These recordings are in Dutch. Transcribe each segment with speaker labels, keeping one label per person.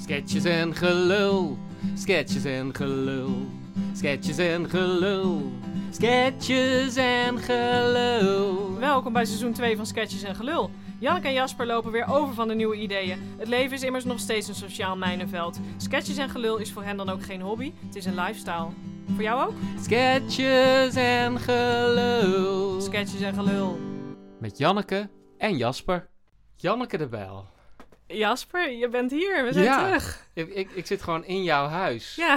Speaker 1: Sketches en gelul, sketches en gelul, sketches en gelul, sketches en gelul.
Speaker 2: Welkom bij seizoen 2 van Sketches en Gelul. Janneke en Jasper lopen weer over van de nieuwe ideeën. Het leven is immers nog steeds een sociaal mijnenveld. Sketches en Gelul is voor hen dan ook geen hobby, het is een lifestyle. Voor jou ook?
Speaker 1: Sketches en gelul.
Speaker 2: Sketches en Gelul.
Speaker 1: Met Janneke en Jasper. Janneke de Bijl.
Speaker 2: Jasper, je bent hier, we zijn
Speaker 1: Ja.
Speaker 2: terug.
Speaker 1: Ik, ik, ik zit gewoon in jouw huis.
Speaker 2: Ja,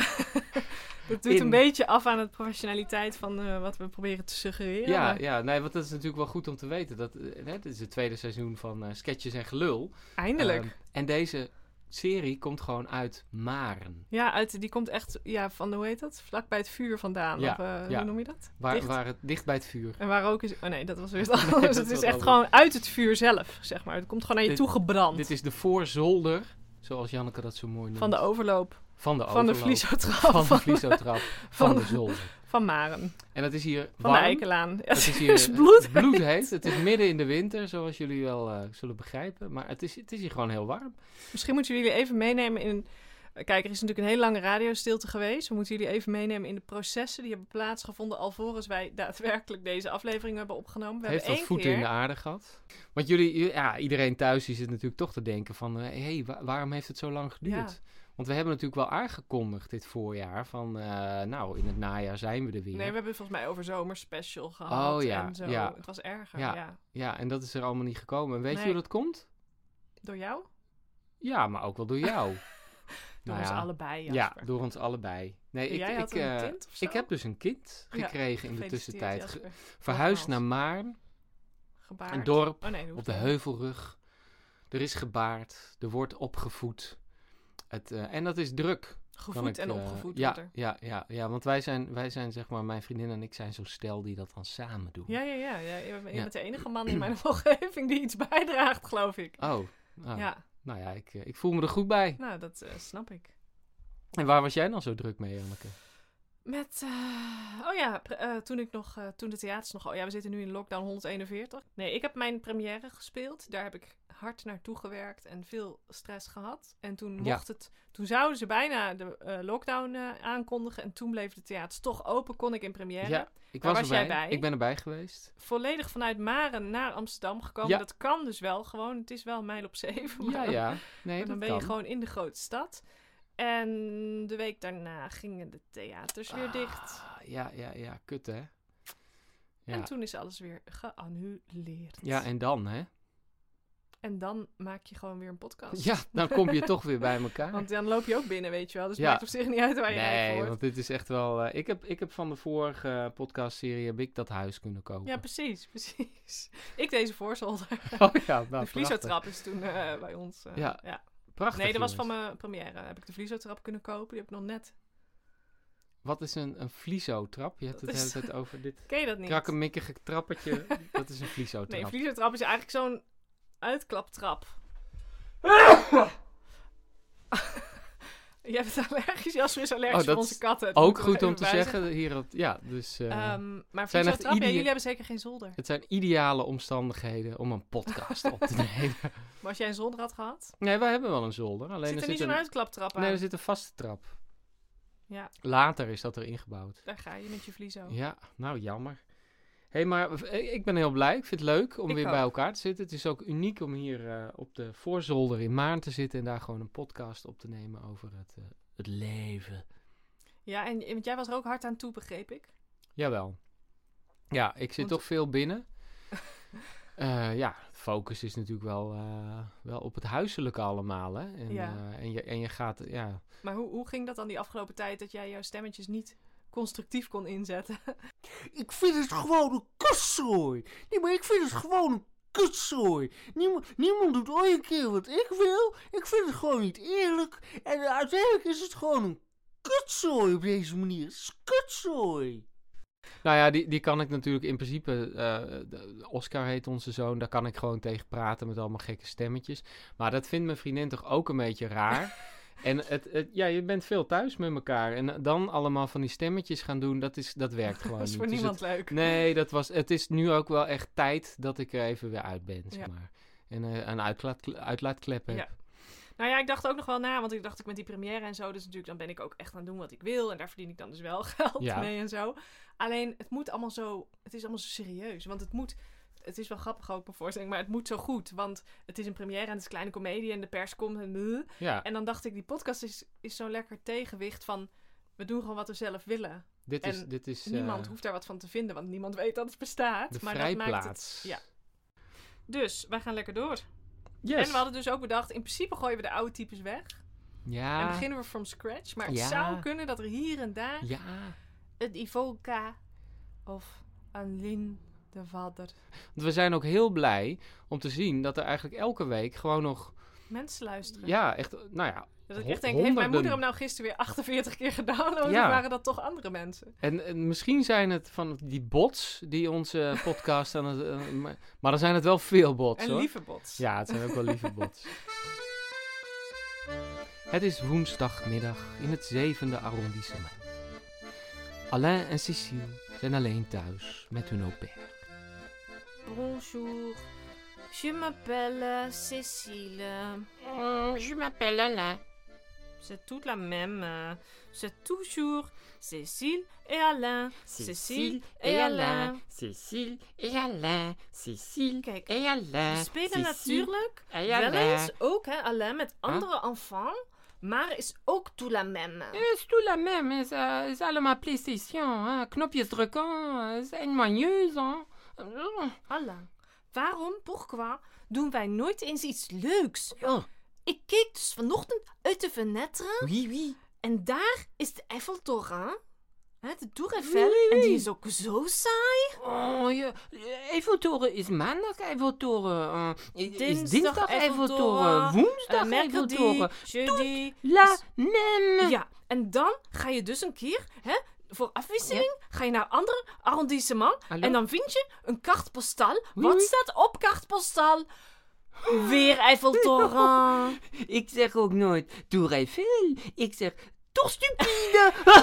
Speaker 2: dat doet
Speaker 1: In-
Speaker 2: een beetje af aan de professionaliteit van eh, wat we proberen te suggereren.
Speaker 1: Ja,
Speaker 2: maar-
Speaker 1: ja, nee, want dat is natuurlijk wel goed om te weten. Dat, eh, hè, dit is het tweede seizoen van eh, Sketches en Gelul.
Speaker 2: Eindelijk.
Speaker 1: Ehm, en deze serie komt gewoon uit Maren.
Speaker 2: Ja, uit, die komt echt ja, van, hoe heet dat? Vlak bij het vuur vandaan.
Speaker 1: Ja,
Speaker 2: Of, eh,
Speaker 1: ja.
Speaker 2: Hoe noem je dat?
Speaker 1: Waar,
Speaker 2: Dicht.
Speaker 1: waar het dicht bij het vuur.
Speaker 2: En waar ook is... Oh nee, dat was weer het anders.
Speaker 1: dat
Speaker 2: het is
Speaker 1: was
Speaker 2: echt
Speaker 1: anders.
Speaker 2: gewoon uit het vuur zelf, zeg maar. Het komt gewoon naar je
Speaker 1: Dit-
Speaker 2: toe gebrand.
Speaker 1: Dit is de voorzolder, zoals Janneke dat zo mooi noemt.
Speaker 2: Van de overloop.
Speaker 1: van de
Speaker 2: Van de
Speaker 1: overloop,
Speaker 2: vliesotrap.
Speaker 1: Van de
Speaker 2: Van,
Speaker 1: vliesotrap. van
Speaker 2: van-
Speaker 1: de zolder.
Speaker 2: van Maren.
Speaker 1: En dat is hier
Speaker 2: Van
Speaker 1: warm.
Speaker 2: de Eikelaan. Ja,
Speaker 1: Het is hier eh,
Speaker 2: is bloedheet.
Speaker 1: bloedheet. Het is midden in de winter, zoals jullie wel eh, zullen begrijpen. Maar het is, het is hier gewoon heel warm.
Speaker 2: Misschien moeten jullie even meenemen in... Kijk, er is natuurlijk een hele lange radiostilte geweest. We moeten jullie even meenemen in de processen die hebben plaatsgevonden... alvorens wij daadwerkelijk deze aflevering hebben opgenomen. We
Speaker 1: heeft wat
Speaker 2: hebben één
Speaker 1: voeten
Speaker 2: keer...
Speaker 1: in de aarde gehad. Want jullie, ju- ja, iedereen thuis die zit natuurlijk toch te denken van... Hé, hey, wa- waarom heeft het zo lang geduurd? Want we hebben natuurlijk wel aangekondigd dit voorjaar van... eh, nou, in het najaar zijn we er weer.
Speaker 2: Nee, we hebben het volgens mij over zomerspecial gehad.
Speaker 1: Oh ja,
Speaker 2: en zo.
Speaker 1: ja.
Speaker 2: Het was erger,
Speaker 1: Ja.
Speaker 2: ja.
Speaker 1: Ja, en dat is er allemaal niet gekomen. En weet je
Speaker 2: Nee.
Speaker 1: hoe dat komt?
Speaker 2: Door jou?
Speaker 1: Ja, maar ook wel door jou.
Speaker 2: Door
Speaker 1: Nou
Speaker 2: ons
Speaker 1: ja.
Speaker 2: allebei,
Speaker 1: Ja,
Speaker 2: Jasper.
Speaker 1: door ons allebei. Nee, ik,
Speaker 2: Jij
Speaker 1: ik,
Speaker 2: had een
Speaker 1: eh,
Speaker 2: kind of zo?
Speaker 1: ik heb dus een kind
Speaker 2: Ja,
Speaker 1: gekregen in de
Speaker 2: Gefeliciteerd,
Speaker 1: tussentijd. Ge-
Speaker 2: Jasper.
Speaker 1: Verhuisd naar
Speaker 2: Nogmaals.
Speaker 1: Maarn,
Speaker 2: Gebaard.
Speaker 1: een dorp
Speaker 2: Oh nee, dat
Speaker 1: op
Speaker 2: hoeft
Speaker 1: de
Speaker 2: niet.
Speaker 1: heuvelrug. Er is gebaard, er wordt opgevoed. Het, eh, en dat is druk. kan ik,
Speaker 2: Gevoed en
Speaker 1: eh,
Speaker 2: opgevoed wordt
Speaker 1: ja,
Speaker 2: er.
Speaker 1: ja, ja, ja, want wij zijn, wij zijn, zeg maar, mijn vriendin en ik zijn zo'n stel die dat dan samen doen.
Speaker 2: Ja, ja, ja. ja. Je, bent- je
Speaker 1: Ja.
Speaker 2: bent de enige man in mijn omgeving die iets bijdraagt, geloof ik.
Speaker 1: Oh, ah,
Speaker 2: Ja,
Speaker 1: nou ja, ik, eh, ik voel me er goed bij.
Speaker 2: nou, dat eh, snap ik.
Speaker 1: En waar was jij dan zo druk mee, Janneke?
Speaker 2: Met, eh, oh ja, pre- eh, toen ik nog, eh, toen de theaters nog, oh ja, we zitten nu in lockdown 141. Nee, ik heb mijn première gespeeld. Daar heb ik hard naartoe gewerkt en veel stress gehad. En toen
Speaker 1: Ja.
Speaker 2: mocht het, toen zouden ze bijna de eh, lockdown eh, aankondigen. En toen bleef de theaters toch open, kon ik in première.
Speaker 1: ik
Speaker 2: Waar
Speaker 1: was,
Speaker 2: was
Speaker 1: erbij.
Speaker 2: jij bij?
Speaker 1: Ik ben erbij geweest.
Speaker 2: Volledig vanuit Maren naar Amsterdam gekomen.
Speaker 1: Ja.
Speaker 2: Dat kan dus wel gewoon. Het is wel mijl op zeven.
Speaker 1: Ja,
Speaker 2: maar-
Speaker 1: ja. Nee,
Speaker 2: maar dan
Speaker 1: dat
Speaker 2: ben
Speaker 1: kan.
Speaker 2: je gewoon in de grote stad. En de week daarna gingen de theaters dus weer
Speaker 1: Ah,
Speaker 2: dicht.
Speaker 1: Ja, ja, ja, kut hè. Ja.
Speaker 2: En toen is alles weer geannuleerd.
Speaker 1: ja, en dan hè?
Speaker 2: En dan maak je gewoon weer een podcast.
Speaker 1: Ja, dan kom je toch weer bij elkaar.
Speaker 2: Want dan loop je ook binnen, weet je wel. Dus het
Speaker 1: Ja.
Speaker 2: maakt op zich niet uit waar je eigenlijk
Speaker 1: nee,
Speaker 2: hoort.
Speaker 1: want dit is echt wel... eh, ik, heb, ik heb van de vorige eh, podcastserie heb ik dat huis kunnen kopen.
Speaker 2: Ja, precies, precies. Ik deze voorzolder.
Speaker 1: Oh ja, nou,
Speaker 2: de
Speaker 1: prachtig.
Speaker 2: vliesotrap is toen eh, bij ons. eh,
Speaker 1: Ja, Prachtig,
Speaker 2: Nee, dat was van
Speaker 1: jongens.
Speaker 2: mijn première. Heb ik de vliesotrap kunnen kopen. Die heb ik nog net.
Speaker 1: Wat is een, een vliesotrap? Je hebt het
Speaker 2: Dat is-
Speaker 1: hele tijd over dit
Speaker 2: Ken je dat niet?
Speaker 1: krakkemikkige trappetje. dat is een vliesotrap.
Speaker 2: nee, vliesotrap is eigenlijk zo'n uitklaptrap. Jij bent allergisch. Jasper is allergisch
Speaker 1: Oh, dat
Speaker 2: voor onze
Speaker 1: is
Speaker 2: katten. Dat
Speaker 1: Ook
Speaker 2: moeten we
Speaker 1: goed om
Speaker 2: even
Speaker 1: te
Speaker 2: bijzeggen.
Speaker 1: zeggen. Hier, op- ja, dus... eh,
Speaker 2: Ehm, maar
Speaker 1: zijn echt
Speaker 2: fysiotherapeuten,
Speaker 1: idië-
Speaker 2: jullie hebben zeker geen zolder.
Speaker 1: Het zijn ideale omstandigheden om een podcast op te nemen.
Speaker 2: Maar als jij een zolder had gehad,
Speaker 1: Nee, wij hebben wel een zolder. Alleen
Speaker 2: zit er niet
Speaker 1: zit
Speaker 2: zo'n
Speaker 1: een,
Speaker 2: uitklaptrap aan.
Speaker 1: Nee, er zit een vaste trap.
Speaker 2: Ja. Oh.
Speaker 1: Later is dat er ingebouwd.
Speaker 2: Daar ga je met je vlieso.
Speaker 1: Ja, nou jammer. Hé, hey, maar v- eh, ik ben heel blij. Ik vind het leuk om
Speaker 2: Ik
Speaker 1: weer
Speaker 2: ook.
Speaker 1: bij elkaar te zitten. Het is ook uniek om hier eh, op de voorzolder in Maarn te zitten en daar gewoon een podcast op te nemen over het, eh, het leven.
Speaker 2: Ja, en want jij was er ook hard aan toe, begreep ik.
Speaker 1: Jawel. Ja, ik zit
Speaker 2: Want-
Speaker 1: toch veel binnen. Eh, ja, focus is natuurlijk wel, eh, wel op het huiselijke allemaal. Hè? En,
Speaker 2: Ja.
Speaker 1: eh, en, je, en je gaat, ja,
Speaker 2: Maar hoe, hoe ging dat dan die afgelopen tijd dat jij jouw stemmetjes niet constructief kon inzetten?
Speaker 1: Oh,
Speaker 3: Ik vind het gewoon een kutzooi. Nee, maar ik vind het gewoon een kutzooi. Niemand, niemand doet ooit een keer wat ik wil. Ik vind het gewoon niet eerlijk. En eh, uiteindelijk is het gewoon een kutzooi op deze manier. Het is kutzooi.
Speaker 1: Nou ja, die, die kan ik natuurlijk in principe. eh, de- Oscar heet onze zoon. Daar kan ik gewoon tegen praten met allemaal gekke stemmetjes. Maar dat vindt mijn vriendin toch ook een beetje raar. En het, het- ja, je bent veel thuis met elkaar. En dan allemaal van die stemmetjes gaan doen, dat, is, dat werkt gewoon
Speaker 2: dat is
Speaker 1: niet.
Speaker 2: voor
Speaker 1: Dus
Speaker 2: niemand
Speaker 1: het-
Speaker 2: leuk.
Speaker 1: nee, dat was, het is nu ook wel echt tijd dat ik er even weer uit ben, zeg
Speaker 2: Ja.
Speaker 1: maar. En eh, een uitlaat, uitlaatklep heb.
Speaker 2: Ja. Nou ja, ik dacht ook nog wel na, want ik dacht ik met die première en zo, dus natuurlijk dan ben ik ook echt aan het doen wat ik wil en daar verdien ik dan dus wel geld
Speaker 1: Ja.
Speaker 2: mee en zo. Alleen het moet allemaal zo, het is allemaal zo serieus, want het moet, het is wel grappig ook mijn voorstelling, maar het moet zo goed, want het is een première en het is een kleine komedie en de pers komt en bleh.
Speaker 1: Ja,
Speaker 2: En dan dacht ik, die podcast is, is zo'n lekker tegenwicht van, we doen gewoon wat we zelf willen.
Speaker 1: dit is,
Speaker 2: en
Speaker 1: dit is eh,
Speaker 2: Niemand hoeft daar wat van te vinden, want niemand weet dat het bestaat.
Speaker 1: de
Speaker 2: maar dat maakt het.
Speaker 1: vrijplaats.
Speaker 2: ja. Dus wij gaan lekker door.
Speaker 1: Yes.
Speaker 2: En we hadden dus ook bedacht, in principe gooien we de oude types weg. En
Speaker 1: Ja.
Speaker 2: beginnen we from scratch. Maar het
Speaker 1: Ja.
Speaker 2: zou kunnen dat er hier en daar
Speaker 1: Ja.
Speaker 2: een Ivolka of een Lin de Vader.
Speaker 1: Want we zijn ook heel blij om te zien dat er eigenlijk elke week gewoon nog...
Speaker 2: Mensen luisteren.
Speaker 1: Ja, echt, nou ja.
Speaker 2: dat ik
Speaker 1: ho-
Speaker 2: echt denk, heeft mijn moeder
Speaker 1: honderden.
Speaker 2: hem nou gisteren weer 48 keer gedownload?
Speaker 1: Ja.
Speaker 2: Of waren dat toch andere mensen?
Speaker 1: En, en misschien zijn het van die bots die onze podcast aan het... eh, maar, maar dan zijn het wel veel bots,
Speaker 2: en
Speaker 1: hoor.
Speaker 2: lieve bots.
Speaker 1: Ja, het zijn ook wel lieve bots. Het is woensdagmiddag in het zevende arrondissement. Alain en Cécile zijn alleen thuis met hun au pair.
Speaker 2: Bonjour. Je m'appelle Cécile.
Speaker 4: Oh, je m'appelle Alain.
Speaker 2: C'est toute la même. C'est toujours Cécile et Alain. Cécile et Alain.
Speaker 4: Cécile et Alain. Cécile
Speaker 2: Kijk,
Speaker 4: et Alain.
Speaker 2: We spelen
Speaker 4: Cécile
Speaker 2: natuurlijk
Speaker 4: et
Speaker 2: wel
Speaker 4: Alain.
Speaker 2: eens ook hè, alleen met andere enfants, maar is ook tout la même.
Speaker 4: Eh, C'est tout la même. eh, ça- C'est allemaal PlayStation. Hein. Knopjes drukken. eh, Zijn manjeus. Hein. Mm.
Speaker 2: Alain, waarom, pourquoi, doen wij nooit eens iets leuks?
Speaker 4: Ja.
Speaker 2: Ik keek dus vanochtend uit de fenêtre
Speaker 4: Oui, oui.
Speaker 2: en daar is de Eiffeltoren, hè, de Tour Eiffel, en die is ook zo saai.
Speaker 4: Oh, je, Eiffeltoren is maandag Eiffeltoren. eh, is- er is
Speaker 2: Dinsdag
Speaker 4: dinsdag Eiffeltoren.
Speaker 2: Eiffeltoren,
Speaker 4: Woensdag
Speaker 2: Eh,
Speaker 4: Eiffeltoren.
Speaker 2: jeudi.
Speaker 4: euh, La même.
Speaker 2: Ja, en dan ga je dus een keer, hè, voor afwisseling, ga je naar andere arrondissement
Speaker 4: Hallo?
Speaker 2: en dan vind je een carte postale.
Speaker 4: Oui,
Speaker 2: Wat
Speaker 4: oui.
Speaker 2: staat op carte postale? Weer Eiffeltoren.
Speaker 4: Ik zeg ook nooit Tour Eiffel. Ik zeg Tour Stupide.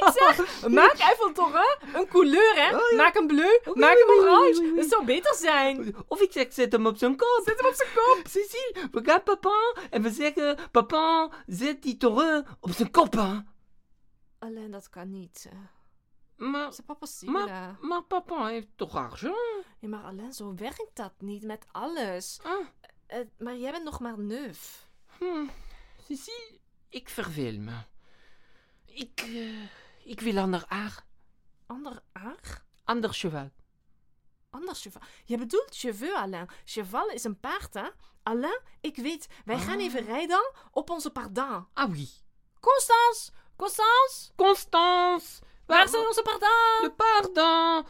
Speaker 2: Ik zeg, maak Eiffeltoren een couleur, hè. Maak hem bleu,
Speaker 4: Oh, Oei,
Speaker 2: maak hem
Speaker 4: oei, oei,
Speaker 2: orange.
Speaker 4: oei, oei.
Speaker 2: Dat zou beter zijn.
Speaker 4: Of ik zeg zet hem op zijn kop. Zet hem op zijn kop. Cecile, we gaan papa en we zeggen papa zet die toren op zijn kop. Hè?
Speaker 2: Alleen dat kan niet. Eh,
Speaker 4: Maar,
Speaker 2: C'est pas
Speaker 4: maar, maar papa heeft toch argent?
Speaker 2: Ja, maar alleen zo werkt dat niet met alles. Eh,
Speaker 4: Ah,
Speaker 2: maar jij bent nog maar neuf.
Speaker 4: hm. Cecile, ik verveel me. Ik, eh, ik wil ander haar,
Speaker 2: Ander aar?
Speaker 4: ander cheval.
Speaker 2: Anders cheval. Je bedoelt cheveux, Alain. Cheval is een paard, hè? Alain, ik weet. Wij gaan
Speaker 4: Ah.
Speaker 2: even rijden op onze pardon.
Speaker 4: Ah oui,
Speaker 2: Constance! Constance!
Speaker 4: Constance.
Speaker 2: Waar zijn onze pardon?
Speaker 4: de pardon?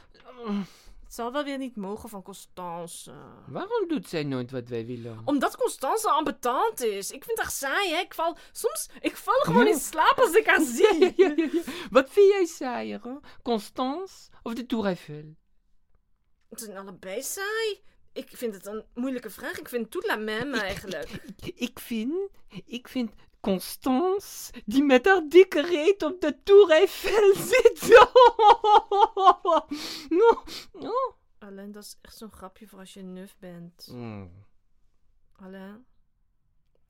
Speaker 2: Het zal wel weer niet mogen van Constance.
Speaker 4: Waarom doet zij nooit wat wij willen?
Speaker 2: Omdat Constance ambetant is. Ik vind haar saai, hè? Ik val... Soms... Ik val gewoon
Speaker 4: Ja.
Speaker 2: in slaap als ik haar
Speaker 4: Ja,
Speaker 2: zie.
Speaker 4: ja, ja, ja. Wat vind jij saaier, hè? Constance of de Tour Eiffel?
Speaker 2: Het zijn allebei saai. Ik vind het een moeilijke vraag. Ik vind tout la même eigenlijk.
Speaker 4: Ik vind, ik vind Constance, die met haar dikke reet op de Tour Eiffel zit. No, no.
Speaker 2: Alain, dat is echt zo'n grapje voor als je nuf bent.
Speaker 1: Hmm.
Speaker 2: Alain,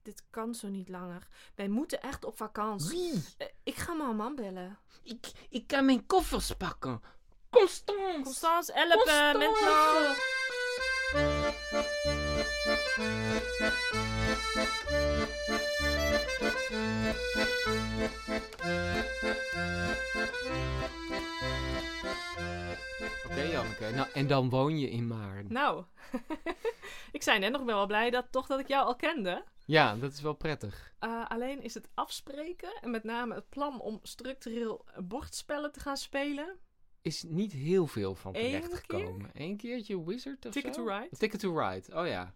Speaker 2: dit kan zo niet langer. Wij moeten echt op vakantie.
Speaker 4: Wie?
Speaker 2: Eh, Ik ga mijn man bellen.
Speaker 4: Ik, ik kan mijn koffers pakken. Constance!
Speaker 2: Constance, help me
Speaker 4: Constance.
Speaker 1: Oké, Janneke. Nou, en dan woon je in Maarn.
Speaker 2: Nou, ik zei net nog wel blij dat toch dat ik jou al kende.
Speaker 1: Ja, dat is wel prettig.
Speaker 2: Eh, alleen is het afspreken en met name het plan om structureel bordspellen te gaan spelen.
Speaker 1: Is niet heel veel van
Speaker 2: Eén
Speaker 1: terechtgekomen. Eén keertje Wizard of
Speaker 2: Ticket
Speaker 1: zo?
Speaker 2: to Ride.
Speaker 1: Ticket to Ride, oh ja.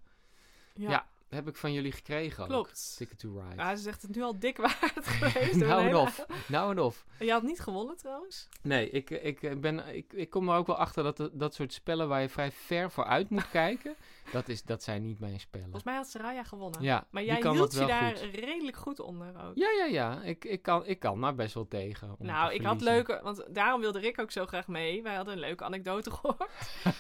Speaker 2: Ja,
Speaker 1: Ja, Heb ik van jullie gekregen ook.
Speaker 2: klopt.
Speaker 1: Ticket to Ride.
Speaker 2: Ja, ze zegt het nu al dik waard geweest.
Speaker 1: nou en
Speaker 2: Helena.
Speaker 1: of. Nou en of.
Speaker 2: Je had niet gewonnen trouwens.
Speaker 1: Nee, ik, ik, eh, ben, ik, ik kom er ook wel achter dat de- dat soort spellen waar je vrij ver voor uit moet kijken, dat, is, dat zijn niet mijn spellen.
Speaker 2: Volgens mij had Saraya gewonnen.
Speaker 1: Ja,
Speaker 2: Maar
Speaker 1: die
Speaker 2: jij
Speaker 1: kan
Speaker 2: hield
Speaker 1: dat
Speaker 2: je
Speaker 1: wel
Speaker 2: daar
Speaker 1: goed.
Speaker 2: redelijk goed onder ook.
Speaker 1: Ja, ja, ja. Ik, ik, kan, ik kan daar best wel tegen. om
Speaker 2: nou,
Speaker 1: te
Speaker 2: ik had
Speaker 1: verliezen.
Speaker 2: leuke, want daarom wilde Rick ook zo graag mee. Wij hadden een leuke anekdote gehoord.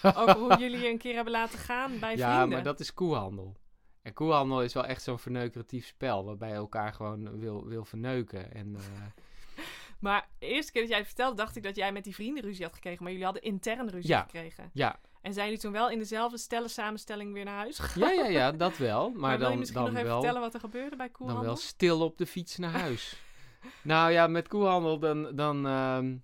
Speaker 2: Over hoe jullie je een keer hebben laten gaan bij
Speaker 1: Ja,
Speaker 2: vrienden.
Speaker 1: maar dat is koehandel. En koehandel is wel echt zo'n verneukeratief spel, waarbij je elkaar gewoon wil, wil verneuken. En, eh,
Speaker 2: Maar de eerste keer dat jij het vertelde, dacht ik dat jij met die vrienden ruzie had gekregen. Maar jullie hadden intern ruzie
Speaker 1: Ja.
Speaker 2: gekregen.
Speaker 1: ja.
Speaker 2: En zijn jullie toen wel in dezelfde stelle samenstelling weer naar huis gegaan?
Speaker 1: ja, ja, ja, dat wel. Maar,
Speaker 2: Maar, wil je
Speaker 1: dan,
Speaker 2: misschien
Speaker 1: dan,
Speaker 2: nog even
Speaker 1: wel,
Speaker 2: vertellen wat er gebeurde bij
Speaker 1: dan
Speaker 2: Koelhandel?
Speaker 1: wel stil op de fiets naar huis. nou ja, met koehandel dan... dan ehm,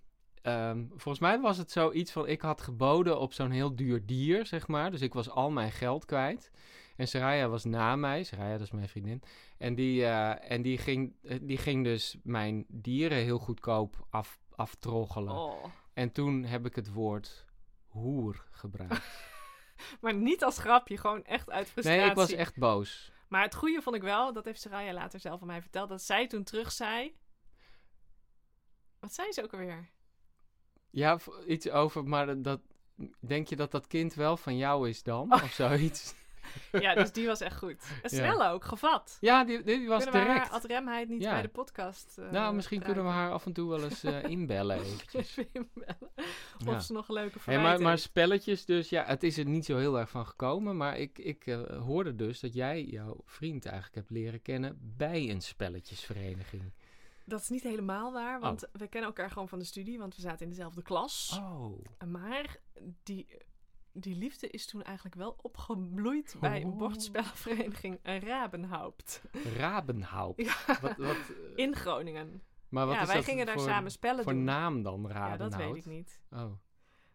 Speaker 1: ehm, volgens mij was het zoiets van, ik had geboden op zo'n heel duur dier, zeg maar. Dus ik was al mijn geld kwijt. En Saraya was na mij. Saraya, dat is mijn vriendin. En die, eh, en die, ging, eh, die ging dus mijn dieren heel goedkoop af, aftroggelen.
Speaker 2: Oh.
Speaker 1: En toen heb ik het woord hoer gebruikt.
Speaker 2: Maar niet als grapje, gewoon echt uit frustratie.
Speaker 1: Nee, ik was echt boos.
Speaker 2: Maar het goede vond ik wel, dat heeft Saraya later zelf aan mij verteld, dat zij toen terug zei... Wat zei ze ook alweer?
Speaker 1: Ja, v- iets over, maar dat- dat, denk je dat dat kind wel van jou is dan? Of zoiets?
Speaker 2: Oh. Ja, dus die was echt goed. En snel ook, gevat.
Speaker 1: Ja, die, die was
Speaker 2: kunnen we haar
Speaker 1: direct.
Speaker 2: ad remheid niet
Speaker 1: Ja.
Speaker 2: bij de podcast eh,
Speaker 1: nou, misschien kunnen we
Speaker 2: gebruiken?
Speaker 1: haar af en toe wel eens eh, inbellen eventjes.
Speaker 2: Even bellen. Of
Speaker 1: Ja.
Speaker 2: ze nog een leuke
Speaker 1: Hey,
Speaker 2: verwijt
Speaker 1: maar, maar
Speaker 2: heeft.
Speaker 1: spelletjes dus, ja, het is er niet zo heel erg van gekomen. Maar ik, ik eh, hoorde dus dat jij jouw vriend eigenlijk hebt leren kennen bij een spelletjesvereniging.
Speaker 2: Dat is niet helemaal waar, want we kennen elkaar gewoon van de studie, want we zaten in dezelfde klas.
Speaker 1: Oh.
Speaker 2: Maar die, die liefde is toen eigenlijk wel opgebloeid bij
Speaker 1: Oh.
Speaker 2: bordspelvereniging Rabenhaupt
Speaker 1: Rabenhaupt.
Speaker 2: Ja.
Speaker 1: Wat, wat, eh,
Speaker 2: in Groningen.
Speaker 1: maar wat
Speaker 2: ja,
Speaker 1: is
Speaker 2: wij
Speaker 1: dat
Speaker 2: gingen daar
Speaker 1: voor-
Speaker 2: samen spellen
Speaker 1: Voor
Speaker 2: doen.
Speaker 1: naam dan,
Speaker 2: ja,
Speaker 1: Rabenhout?
Speaker 2: dat weet ik niet.
Speaker 1: Oh.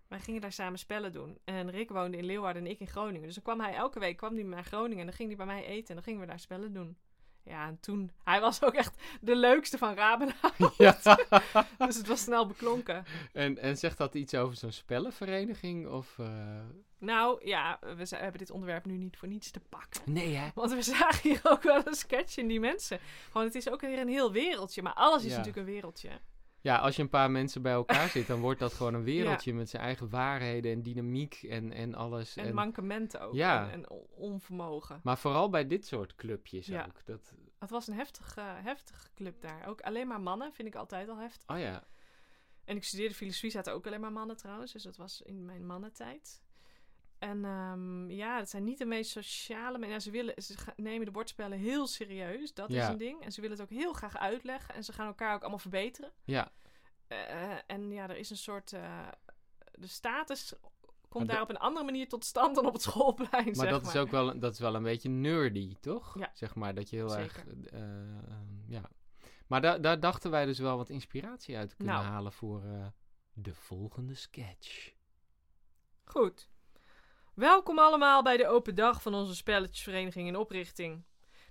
Speaker 2: Wij gingen daar samen spellen doen. En Rick woonde in Leeuwarden en ik in Groningen. Dus dan kwam hij elke week kwam hij naar Groningen en dan ging hij bij mij eten en dan gingen we daar spellen doen. Ja, en toen... Hij was ook echt de leukste van Rabenhaupt.
Speaker 1: Ja.
Speaker 2: dus het was snel beklonken.
Speaker 1: en, en zegt dat iets over zo'n spellenvereniging? Of, eh,
Speaker 2: Nou, ja, we ze- hebben dit onderwerp nu niet voor niets te pakken.
Speaker 1: Nee, hè?
Speaker 2: Want we zagen hier ook wel een sketch in die mensen. Gewoon, het is ook weer een heel wereldje. Maar alles is
Speaker 1: Ja.
Speaker 2: natuurlijk een wereldje.
Speaker 1: Ja, als je een paar mensen bij elkaar zit, dan wordt dat gewoon een wereldje met zijn eigen waarheden en dynamiek en, Dus en alles.
Speaker 2: En, mankementen ook.
Speaker 1: Ja.
Speaker 2: En, en on- onvermogen.
Speaker 1: maar vooral bij dit soort clubjes
Speaker 2: Ja.
Speaker 1: ook. Dat,
Speaker 2: Het was een heftig, eh, heftige club daar. Ook alleen maar mannen vind ik altijd al heftig.
Speaker 1: oh ja,
Speaker 2: En ik studeerde filosofie, zaten ook alleen maar mannen trouwens. Dus dat was in mijn mannentijd. En ehm, ja, het zijn niet de meest sociale mensen. ze, willen, ze ga- nemen de bordspellen heel serieus. Dat is
Speaker 1: Ja.
Speaker 2: een ding. En ze willen het ook heel graag uitleggen. En ze gaan elkaar ook allemaal verbeteren.
Speaker 1: ja.
Speaker 2: Eh, en ja, er is een soort. eh, de status komt
Speaker 1: Maar
Speaker 2: daar op een andere manier tot stand dan op het schoolplein.
Speaker 1: Maar
Speaker 2: zeg
Speaker 1: dat
Speaker 2: maar.
Speaker 1: is ook wel, een- dat is wel een beetje nerdy, toch?
Speaker 2: Ja,
Speaker 1: Zeg maar, dat je heel erg...
Speaker 2: zeker.
Speaker 1: eh, ehm, ja. Maar daar daar dachten wij dus wel wat inspiratie uit te kunnen
Speaker 2: Nou.
Speaker 1: halen voor eh, de volgende sketch.
Speaker 2: Goed. Welkom allemaal bij de open dag van onze spelletjesvereniging in oprichting.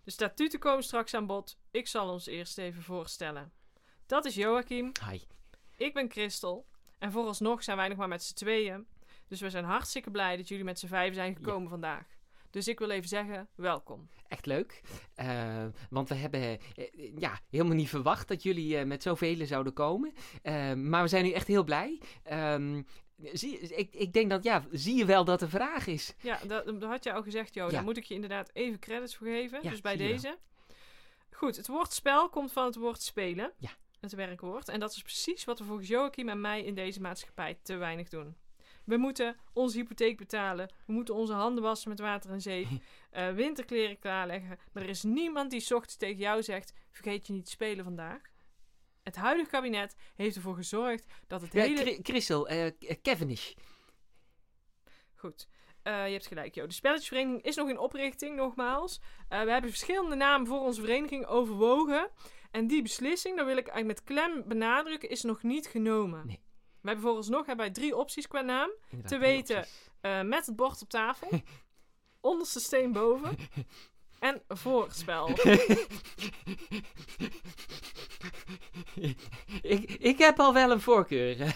Speaker 2: De statuten komen straks aan bod. Ik zal ons eerst even voorstellen. Dat is Joachim.
Speaker 1: Hi.
Speaker 2: Ik ben Christel. En vooralsnog zijn wij nog maar met z'n tweeën. Dus we zijn hartstikke blij dat jullie met z'n vijf zijn gekomen vandaag. Dus ik wil even zeggen, welkom.
Speaker 4: Echt leuk. Eh, want we hebben eh, eh, ja, helemaal niet verwacht dat jullie eh, met zoveel zouden komen. Eh, maar we zijn nu echt heel blij. Ehm, zie, ik, ik denk dat, ja, zie je wel dat er vraag is.
Speaker 2: Ja, dat, dat had jij al gezegd, Jo.
Speaker 4: Ja.
Speaker 2: Daar moet ik je inderdaad even credits voor geven.
Speaker 4: Ja,
Speaker 2: dus bij
Speaker 4: zie je
Speaker 2: deze. Goed, het woord spel komt van het woord spelen.
Speaker 4: Ja.
Speaker 2: Het werkwoord. En dat is precies wat we volgens Joachim en mij in deze maatschappij te weinig doen. We moeten onze hypotheek betalen. We moeten onze handen wassen met water en zeep. eh, winterkleren klaarleggen. Maar er is niemand die 's ochtends tegen jou zegt: vergeet je niet te spelen vandaag. Het huidige kabinet heeft ervoor gezorgd dat het
Speaker 4: Ja,
Speaker 2: hele
Speaker 4: Chri- Christel, eh Kevinish.
Speaker 2: Goed. Eh, je hebt gelijk, Jo. De spelletjesvereniging is nog in oprichting, nogmaals. Eh, we hebben verschillende namen voor onze vereniging overwogen. En die beslissing, daar wil ik eigenlijk met klem benadrukken, is nog niet genomen.
Speaker 4: Nee.
Speaker 2: We hebben vooralsnog hebben wij drie opties qua naam. Te weten. Eh, met het bord op tafel. onderste steen boven. En voorspel.
Speaker 4: ik, ik heb al wel een voorkeur. eh,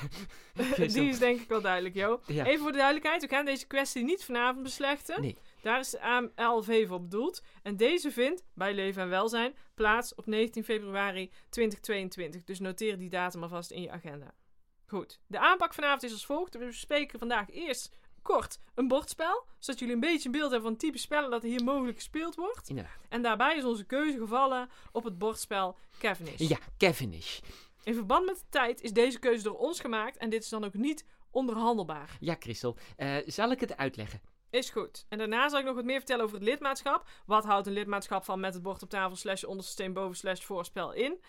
Speaker 4: Christel.
Speaker 2: Die is denk ik wel duidelijk, Jo.
Speaker 4: Ja.
Speaker 2: Even voor de duidelijkheid, we gaan deze kwestie niet vanavond beslechten.
Speaker 4: Nee.
Speaker 2: Daar is de AMLV voor bedoeld. En deze vindt, bij Leven en Welzijn, plaats op 19 februari 2022. Dus noteer die datum alvast in je agenda. Goed. De aanpak vanavond is als volgt. We bespreken vandaag eerst kort een bordspel. Zodat jullie een beetje een beeld hebben van het type spellen dat hier mogelijk gespeeld wordt.
Speaker 4: Inderdaad.
Speaker 2: En daarbij is onze keuze gevallen op het bordspel Kevinish.
Speaker 4: Ja, Kevinish.
Speaker 2: In verband met de tijd is deze keuze door ons gemaakt. En dit is dan ook niet onderhandelbaar.
Speaker 4: Ja, Christel, eh, zal ik het uitleggen?
Speaker 2: Is goed. En daarna zal ik nog wat meer vertellen over het lidmaatschap. Wat houdt een lidmaatschap van met het bord op tafel, slash onderste steen boven, slash voorspel in?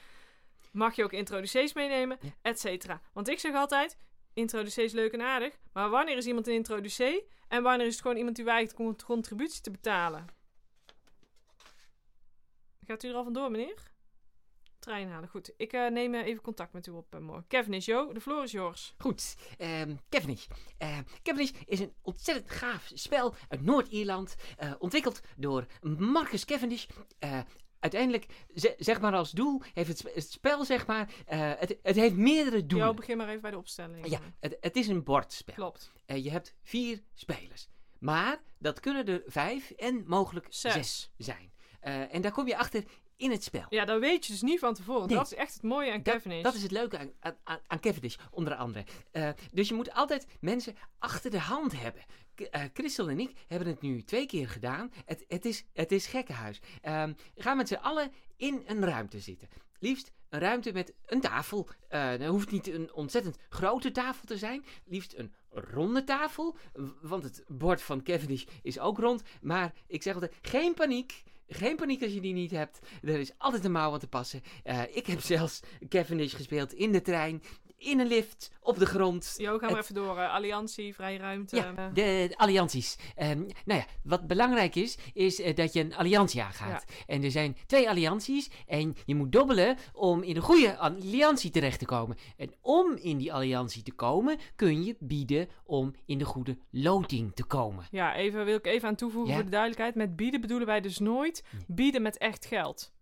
Speaker 2: Mag je ook introducees meenemen,
Speaker 4: Ja.
Speaker 2: et cetera. Want ik zeg altijd, introducees leuk en aardig. Maar wanneer is iemand een introducee? En wanneer is het gewoon iemand die weigert om een contributie te betalen? Gaat u er al vandoor, meneer? Trein halen. Goed, ik eh, neem eh, even contact met u op eh, morgen. Kevin is Jo, de floor is yours.
Speaker 4: Goed, ehm Cavendish. Eh, Cavendish is een ontzettend gaaf spel uit Noord-Ierland, eh, ontwikkeld door Marcus Cavendish. Eh, uiteindelijk, ze- zeg maar als doel, heeft het, sp- het spel, zeg maar, eh, het, het heeft meerdere
Speaker 2: Jo,
Speaker 4: doelen.
Speaker 2: begin maar even bij de opstelling.
Speaker 4: Ja, het, het is een bordspel.
Speaker 2: Klopt.
Speaker 4: Eh, je hebt vier spelers. Maar dat kunnen er vijf en mogelijk
Speaker 2: Zes.
Speaker 4: zes, zijn. Eh, en daar kom je achter in het spel.
Speaker 2: Ja, dat weet je dus niet van tevoren.
Speaker 4: Nee.
Speaker 2: Dat is echt het mooie aan
Speaker 4: Dat,
Speaker 2: Kevin is.
Speaker 4: dat is het leuke aan, aan- aan, aan Cavendish, onder andere. Eh, dus je moet altijd mensen achter de hand hebben. K- eh, Christel en ik hebben het nu twee keer gedaan. Het, het, is, het is gekkenhuis. Ehm ga met z'n allen in een ruimte zitten. Liefst een ruimte met een tafel. Eh dat hoeft niet een ontzettend grote tafel te zijn. Liefst een ronde tafel. w- Want het bord van Cavendish is ook rond. Maar ik zeg altijd, geen paniek. Geen paniek als je die niet hebt. Er is altijd een mouw aan te passen. Eh, ik heb zelfs Cavendish gespeeld in de trein, in een lift, op de grond.
Speaker 2: Jo, gaan we
Speaker 4: het-
Speaker 2: even door. eh, alliantie, vrije ruimte.
Speaker 4: Ja,
Speaker 2: eh,
Speaker 4: de, de allianties. Ehm, nou ja, wat belangrijk is, is eh, dat je een alliantie aangaat. En er zijn twee allianties en je moet dobbelen om in een goede alliantie terecht te komen. En om in die alliantie te komen, kun je bieden om in de goede loting te komen.
Speaker 2: ja, even wil ik even aan toevoegen
Speaker 4: Ja.
Speaker 2: voor de duidelijkheid. Met bieden bedoelen wij dus nooit bieden met echt geld.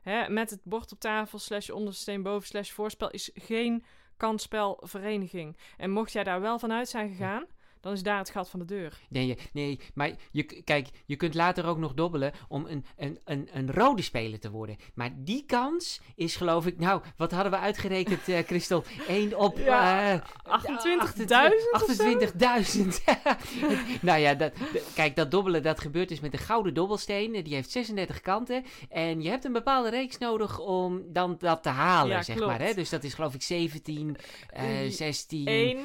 Speaker 2: Hè, met het bord op tafel, slash ondersteen boven, slash voorspel is geen kansspelvereniging. En mocht jij daar wel vanuit zijn gegaan, dan is daar het gat van de deur.
Speaker 4: Nee, je- nee maar je, k- kijk, je kunt later ook nog dobbelen om een, een, een, een rode speler te worden. Maar die kans is geloof ik... Nou, wat hadden we uitgerekend, eh Christel? 1 op...
Speaker 2: Ja,
Speaker 4: eh,
Speaker 2: 28.000
Speaker 4: 28.000. nou ja, dat, d- kijk, dat dobbelen dat gebeurt dus met een gouden dobbelsteen. Eh, Die heeft 36 kanten. En je hebt een bepaalde reeks nodig om dan dat te halen,
Speaker 2: Ja,
Speaker 4: zeg
Speaker 2: klopt.
Speaker 4: maar. Hè? Dus dat is geloof ik 17, eh,
Speaker 2: Eh,
Speaker 4: 16,
Speaker 2: 1.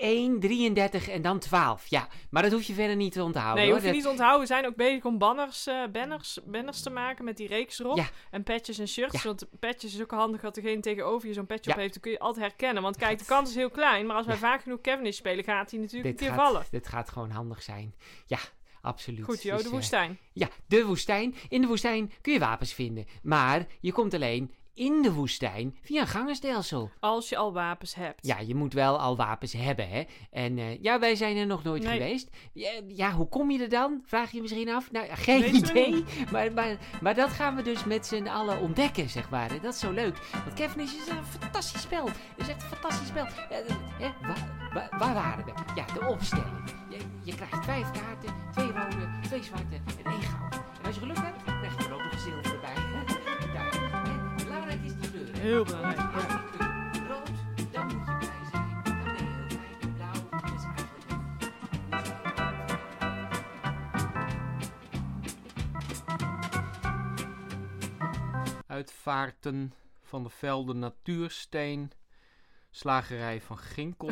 Speaker 4: 1, 33 en dan 12. Ja, maar dat hoef je verder niet te onthouden.
Speaker 2: Nee,
Speaker 4: hoor.
Speaker 2: hoef je
Speaker 4: Dat-
Speaker 2: niet te onthouden. We zijn ook bezig om banners, eh, banners, banners te maken met die reeks erop.
Speaker 4: Ja.
Speaker 2: En patches en shirts.
Speaker 4: Ja.
Speaker 2: Want patches is ook handig dat degene tegenover je zo'n patch op
Speaker 4: Ja.
Speaker 2: heeft. Dan kun je altijd herkennen. Want kijk, de kans is heel klein. Maar als wij vaak genoeg Cavendish spelen, gaat hij natuurlijk een
Speaker 4: dit,
Speaker 2: keer vallen.
Speaker 4: gaat, dit gaat gewoon handig zijn. Ja, absoluut.
Speaker 2: Goed, Jo,
Speaker 4: Dus,
Speaker 2: de
Speaker 4: eh,
Speaker 2: woestijn.
Speaker 4: Ja, de woestijn. In de woestijn kun je wapens vinden. Maar je komt alleen in de woestijn via een gangenstelsel.
Speaker 2: Als je al wapens hebt.
Speaker 4: Ja, je moet wel al wapens hebben, hè? En eh, ja, wij zijn er nog nooit
Speaker 2: Nee.
Speaker 4: geweest. Ja, ja, hoe kom je er dan? Vraag je je misschien af. Nou, ja, geen
Speaker 2: Weten we
Speaker 4: idee. Maar, maar, maar dat gaan we dus met z'n allen ontdekken, zeg maar. En Dat is zo leuk. Want Kevin is een fantastisch spel. Het is echt een fantastisch spel. Ja, eh, hè, waar, waar, waar waren we? Ja, de opstelling. Je, je krijgt vijf kaarten, twee rode, twee zwarte en één goud. En als je geluk hebt, krijg je er ook nog zilver bij. Daar. hè. Belangrijk is die kleur, hè?
Speaker 2: Heel belangrijk.
Speaker 4: Ja, rood, dan moet je blij zijn. Dan ben je heel blij. Blauw, dat is eigenlijk...
Speaker 1: Uitvaarten van de velden Natuursteen. Slagerij van Ginkel.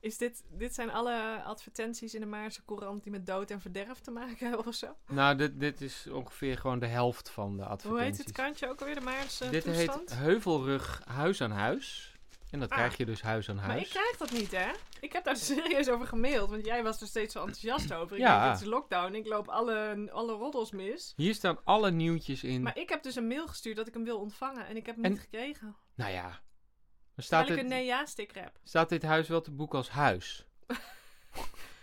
Speaker 2: Is dit, dit zijn alle advertenties in de Maarse Courant die met dood en verderf te maken hebben of zo?
Speaker 1: nou, dit, dit is ongeveer gewoon de helft van de advertenties.
Speaker 2: Hoe heet het krantje ook alweer? De Maarse
Speaker 1: Dit
Speaker 2: toestand?
Speaker 1: heet Heuvelrug Huis aan Huis. En dat
Speaker 2: Ah.
Speaker 1: krijg je dus huis aan
Speaker 2: Maar ik
Speaker 1: huis.
Speaker 2: krijg dat niet, hè? Ik heb daar serieus over gemaild, want jij was er steeds zo enthousiast over. Ik
Speaker 1: Ja.
Speaker 2: denk, het is lockdown, ik loop alle, alle roddels mis.
Speaker 1: Hier staan alle nieuwtjes in.
Speaker 2: Maar ik heb dus een mail gestuurd dat ik hem wil ontvangen en ik heb hem
Speaker 1: En
Speaker 2: niet gekregen.
Speaker 1: Nou ja. Maar staat
Speaker 2: Terwijl ik
Speaker 1: dit,
Speaker 2: een nee-ja-sticker heb.
Speaker 1: staat dit huis wel te boek als huis?
Speaker 2: Niet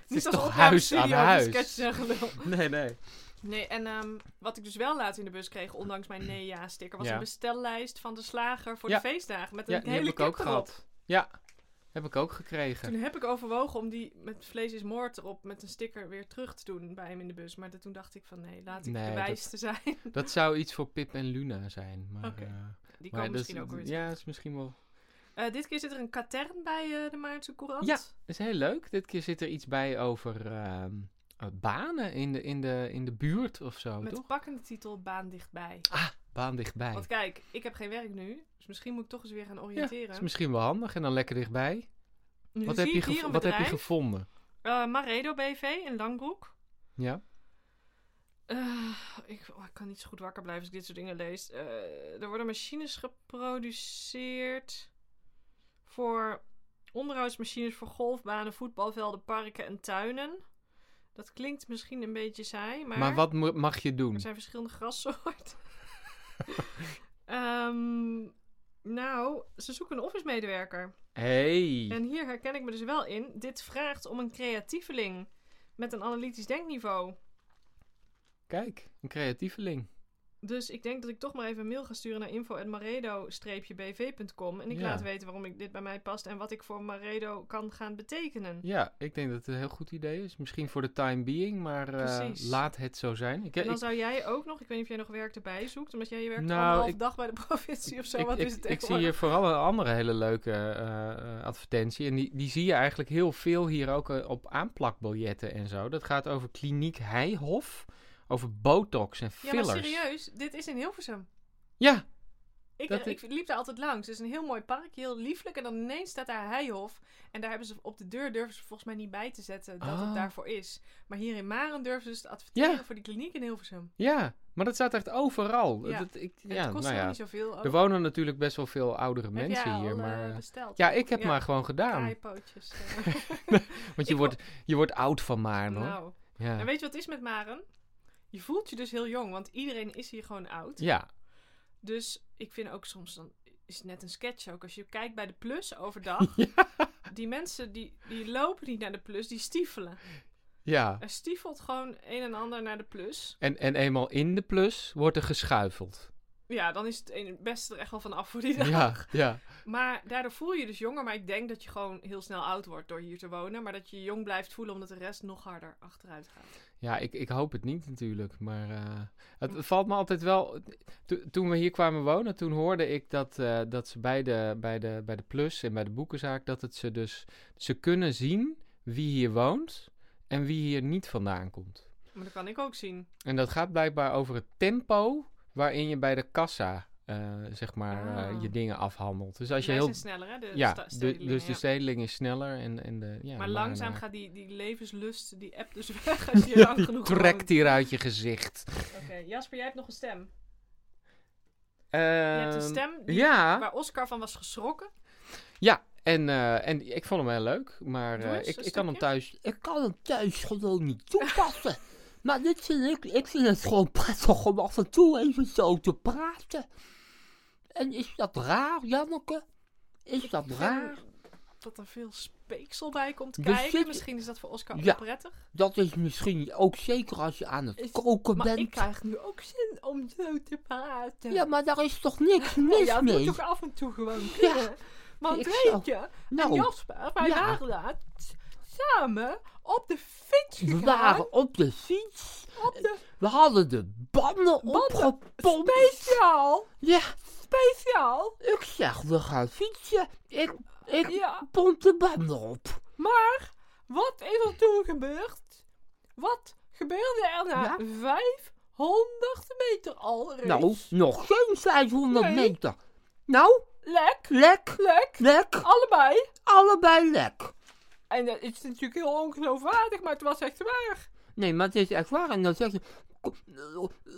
Speaker 1: is
Speaker 2: als
Speaker 1: toch
Speaker 2: opname
Speaker 1: huis aan
Speaker 2: studio met
Speaker 1: huis?
Speaker 2: sketches en gelul.
Speaker 1: Nee, nee.
Speaker 2: Nee, en ehm, wat ik dus wel laat in de bus kreeg, ondanks mijn nee-ja-sticker, was
Speaker 1: Ja.
Speaker 2: een bestellijst van de slager voor
Speaker 1: Ja.
Speaker 2: de feestdagen. Met een
Speaker 1: Ja, die
Speaker 2: hele
Speaker 1: heb ik ook
Speaker 2: kip erop.
Speaker 1: gehad. Ja, heb ik ook gekregen.
Speaker 2: Toen heb ik overwogen om die met vlees is moord erop met een sticker weer terug te doen bij hem in de bus. Maar dat- toen dacht ik van nee, laat ik
Speaker 1: Nee,
Speaker 2: de wijste zijn.
Speaker 1: Dat zou iets voor Pip en Luna zijn. Maar,
Speaker 2: Oké.
Speaker 1: eh, maar
Speaker 2: Die komen
Speaker 1: dat is-
Speaker 2: misschien ook weer terug.
Speaker 1: Ja, dat is misschien wel...
Speaker 2: Eh, dit keer zit er een katern bij eh, de Maartse Courant.
Speaker 1: Ja. Dat is heel leuk. Dit keer zit er iets bij over ehm, eh, banen in de, in, de, in de buurt of zo,
Speaker 2: Met de
Speaker 1: toch? Ah,
Speaker 2: pakkende titel Baan dichtbij.
Speaker 1: Baan dichtbij.
Speaker 2: Want kijk, ik heb geen werk nu. Dus misschien moet ik toch eens weer gaan
Speaker 1: Ja, dat
Speaker 2: oriënteren.
Speaker 1: is misschien wel handig. En dan lekker dichtbij.
Speaker 2: Nu
Speaker 1: Wat
Speaker 2: zie
Speaker 1: heb je,
Speaker 2: ik hier
Speaker 1: gevo-
Speaker 2: een
Speaker 1: wat heb je
Speaker 2: bedrijf,
Speaker 1: gevonden?
Speaker 2: Eh, Maredo BV in Langbroek.
Speaker 1: Ja.
Speaker 2: Eh, ik, oh, ik kan niet zo goed wakker blijven als ik dit soort dingen lees. Eh, er worden machines geproduceerd voor onderhoudsmachines voor golfbanen, voetbalvelden, parken en tuinen. Dat klinkt misschien een beetje saai, maar,
Speaker 1: Maar, wat mo- mag je doen?
Speaker 2: er zijn verschillende grassoorten. Ehm, nou, ze zoeken een office medewerker.
Speaker 1: Hey.
Speaker 2: En hier herken ik me dus wel in. Dit vraagt om een creatieveling met een analytisch denkniveau.
Speaker 1: Kijk, een creatieveling.
Speaker 2: Dus ik denk dat ik toch maar even een mail ga sturen naar info.maredo-bv.com. En ik
Speaker 1: Ja.
Speaker 2: laat weten waarom ik dit bij mij past en wat ik voor Maredo kan gaan betekenen.
Speaker 1: Ja, ik denk dat het een heel goed idee is. Misschien voor de time being, maar eh,
Speaker 2: Precies.
Speaker 1: laat het zo zijn. Ik,
Speaker 2: En dan
Speaker 1: ik-
Speaker 2: zou jij ook nog, ik weet niet of jij nog werk erbij zoekt, omdat jij je werkt
Speaker 1: Nou,
Speaker 2: anderhalf
Speaker 1: ik-
Speaker 2: dag bij de provincie of zo.
Speaker 1: ik,
Speaker 2: wat
Speaker 1: ik,
Speaker 2: is het
Speaker 1: ik zie hier vooral een andere hele leuke eh, eh, advertentie. En die, die zie je eigenlijk heel veel hier ook eh, op aanplakbiljetten en zo. Dat gaat over kliniek Heijhof, over botox en
Speaker 2: Ja, maar
Speaker 1: fillers.
Speaker 2: serieus, dit is in Hilversum.
Speaker 1: Ja,
Speaker 2: Ik, eh,
Speaker 1: Dat
Speaker 2: ik liep daar altijd langs. Het is een heel mooi park, heel lieflijk. En dan ineens staat daar Heihof. En daar hebben ze op de deur durven ze volgens mij niet bij te zetten dat
Speaker 1: Oh.
Speaker 2: het daarvoor is. Maar hier in Maren durven ze dus te adverteren
Speaker 1: Ja.
Speaker 2: voor die kliniek in Hilversum.
Speaker 1: ja. Maar dat staat echt overal.
Speaker 2: Ja.
Speaker 1: Dat, ik,
Speaker 2: En
Speaker 1: ja,
Speaker 2: het kost
Speaker 1: nou
Speaker 2: ook
Speaker 1: ja.
Speaker 2: niet zoveel. ook.
Speaker 1: Er wonen natuurlijk best wel veel oudere
Speaker 2: Heb
Speaker 1: mensen
Speaker 2: jij al,
Speaker 1: hier,
Speaker 2: eh,
Speaker 1: maar... eh,
Speaker 2: besteld?
Speaker 1: ja, ik heb
Speaker 2: Ja.
Speaker 1: maar gewoon gedaan.
Speaker 2: Kraaipootjes, eh.
Speaker 1: Want je,
Speaker 2: Ik
Speaker 1: wordt, je wordt oud van Maren, hoor.
Speaker 2: nou. En
Speaker 1: Ja.
Speaker 2: weet je wat het is met Maren? Je voelt je dus heel jong, want iedereen is hier gewoon oud.
Speaker 1: ja,
Speaker 2: Dus ik vind ook soms dan is het net een sketch ook. Als je kijkt bij de plus overdag, die mensen die, die lopen niet naar de plus, die stiefelen.
Speaker 1: ja.
Speaker 2: Er stiefelt gewoon een en ander naar de plus.
Speaker 1: En, en eenmaal in de plus wordt er geschuifeld.
Speaker 2: Ja, dan is het een- het beste er echt wel van af voor die dag.
Speaker 1: Ja, ja.
Speaker 2: Maar daardoor voel je je dus jonger. Maar ik denk dat je gewoon heel snel oud wordt door hier te wonen. Maar dat je je jong blijft voelen omdat de rest nog harder achteruit gaat.
Speaker 1: Ja, ik, ik hoop het niet natuurlijk, maar eh, het, valt me altijd wel... to- toen we hier kwamen wonen, toen hoorde ik dat, eh, dat ze bij de, bij, de, bij de Plus en bij de Boekenzaak... dat het ze dus... Ze kunnen zien wie hier woont en wie hier niet vandaan komt.
Speaker 2: Maar dat kan ik ook zien.
Speaker 1: En dat gaat blijkbaar over het tempo waarin je bij de kassa, eh, zeg maar, eh,
Speaker 2: Ah.
Speaker 1: je dingen afhandelt. Dus als je
Speaker 2: Wij
Speaker 1: heel...
Speaker 2: zijn sneller, hè? De
Speaker 1: Ja,
Speaker 2: sta-
Speaker 1: de-
Speaker 2: stedelingen,
Speaker 1: dus de
Speaker 2: ja.
Speaker 1: stedeling is sneller en, en de... Ja,
Speaker 2: Maar
Speaker 1: Marenaar-
Speaker 2: langzaam gaat die, die levenslust, die app dus weg als je hier lang genoeg
Speaker 1: Trekt
Speaker 2: woont.
Speaker 1: hier uit je gezicht.
Speaker 2: Oké, Jasper, jij hebt nog een stem.
Speaker 1: Ehm,
Speaker 2: Je hebt een stem die-
Speaker 1: Ja.
Speaker 2: waar Oscar van was geschrokken.
Speaker 1: En, eh, en ik vond hem heel leuk, maar
Speaker 2: Doe
Speaker 1: eh,
Speaker 2: eens
Speaker 1: ik,
Speaker 2: een
Speaker 1: ik kan hem
Speaker 2: stukje.
Speaker 1: thuis.
Speaker 3: Ik kan het thuis gewoon niet toepassen. maar dit vind ik, ik vind het gewoon prettig om af en toe even zo te praten. En is dat raar, Janneke? Is dat
Speaker 2: Ik
Speaker 3: raar?
Speaker 2: vind Dat er veel speeksel bij komt
Speaker 3: Dus
Speaker 2: kijken.
Speaker 3: dit-
Speaker 2: Misschien is dat voor Oscar
Speaker 3: Ja.
Speaker 2: ook prettig.
Speaker 3: Dat is misschien ook zeker als je aan het
Speaker 2: Is-
Speaker 3: koken
Speaker 2: Maar ik
Speaker 3: bent.
Speaker 2: krijg nu ook zin om zo te praten. Nou
Speaker 3: Ja, maar daar is toch niks
Speaker 2: Ja,
Speaker 3: mis
Speaker 2: dat
Speaker 3: mee?
Speaker 2: moet toch af en toe gewoon
Speaker 3: Ja.
Speaker 2: kunnen. Want
Speaker 3: Ik
Speaker 2: weet
Speaker 3: zou-
Speaker 2: je, en
Speaker 3: Nou,
Speaker 2: Jasper, wij
Speaker 3: Ja.
Speaker 2: waren laatst samen op de fiets
Speaker 3: we
Speaker 2: gegaan.
Speaker 3: waren op de fiets.
Speaker 2: op de
Speaker 3: We hadden de banden, opgepompt.
Speaker 2: speciaal,
Speaker 3: Ja,
Speaker 2: speciaal.
Speaker 3: ik zeg, we gaan fietsen. Ik, ik
Speaker 2: Ja,
Speaker 3: pomp de banden op.
Speaker 2: maar wat is er toen gebeurd? Wat gebeurde er na
Speaker 3: Ja.
Speaker 2: 500 meter al? reeds?
Speaker 3: Nou, nog geen 500
Speaker 2: Nee.
Speaker 3: meter. Nou,
Speaker 2: Lek,
Speaker 3: lek,
Speaker 2: lek,
Speaker 3: lek,
Speaker 2: allebei.
Speaker 3: allebei lek.
Speaker 2: En dat is natuurlijk heel ongeloofwaardig, maar het was echt waar.
Speaker 3: Nee, maar het is echt waar. En dan zeg je, "Kom, eh,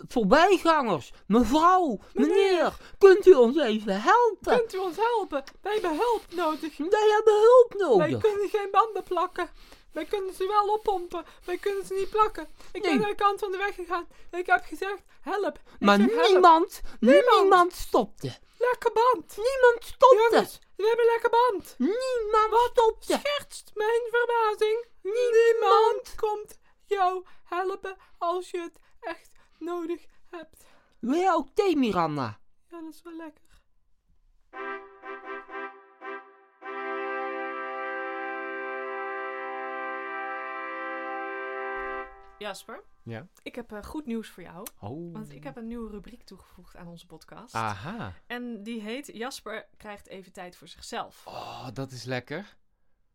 Speaker 3: voorbijgangers, mevrouw, meneer, kunt u ons even helpen?
Speaker 2: Kunt u ons helpen? Wij hebben hulp nodig.
Speaker 3: Wij hebben hulp
Speaker 2: Wij
Speaker 3: nodig.
Speaker 2: kunnen geen banden plakken. Wij kunnen ze wel oppompen. Wij kunnen ze niet plakken. Ik
Speaker 3: Nee.
Speaker 2: ben naar de kant van de weg gegaan. Ik heb gezegd, help. Ik
Speaker 3: Maar
Speaker 2: zeg, help.
Speaker 3: niemand,
Speaker 2: Niemand.
Speaker 3: niemand stopte.
Speaker 2: Lekker band.
Speaker 3: Niemand stopte.
Speaker 2: Jongens, we hebben lekker band.
Speaker 3: Niemand stopte.
Speaker 2: Schertst mijn verbazing. Niemand komt jou helpen als je het echt nodig hebt.
Speaker 3: Wil jij ook thee, Miranda?
Speaker 2: Ja, dat is wel lekker. Jasper?
Speaker 1: Ja?
Speaker 2: Ik heb eh, goed nieuws voor jou.
Speaker 1: Oh.
Speaker 2: Want ik heb een nieuwe rubriek toegevoegd aan onze podcast.
Speaker 1: Aha.
Speaker 2: En die heet Jasper krijgt even tijd voor zichzelf.
Speaker 1: Oh, dat is lekker.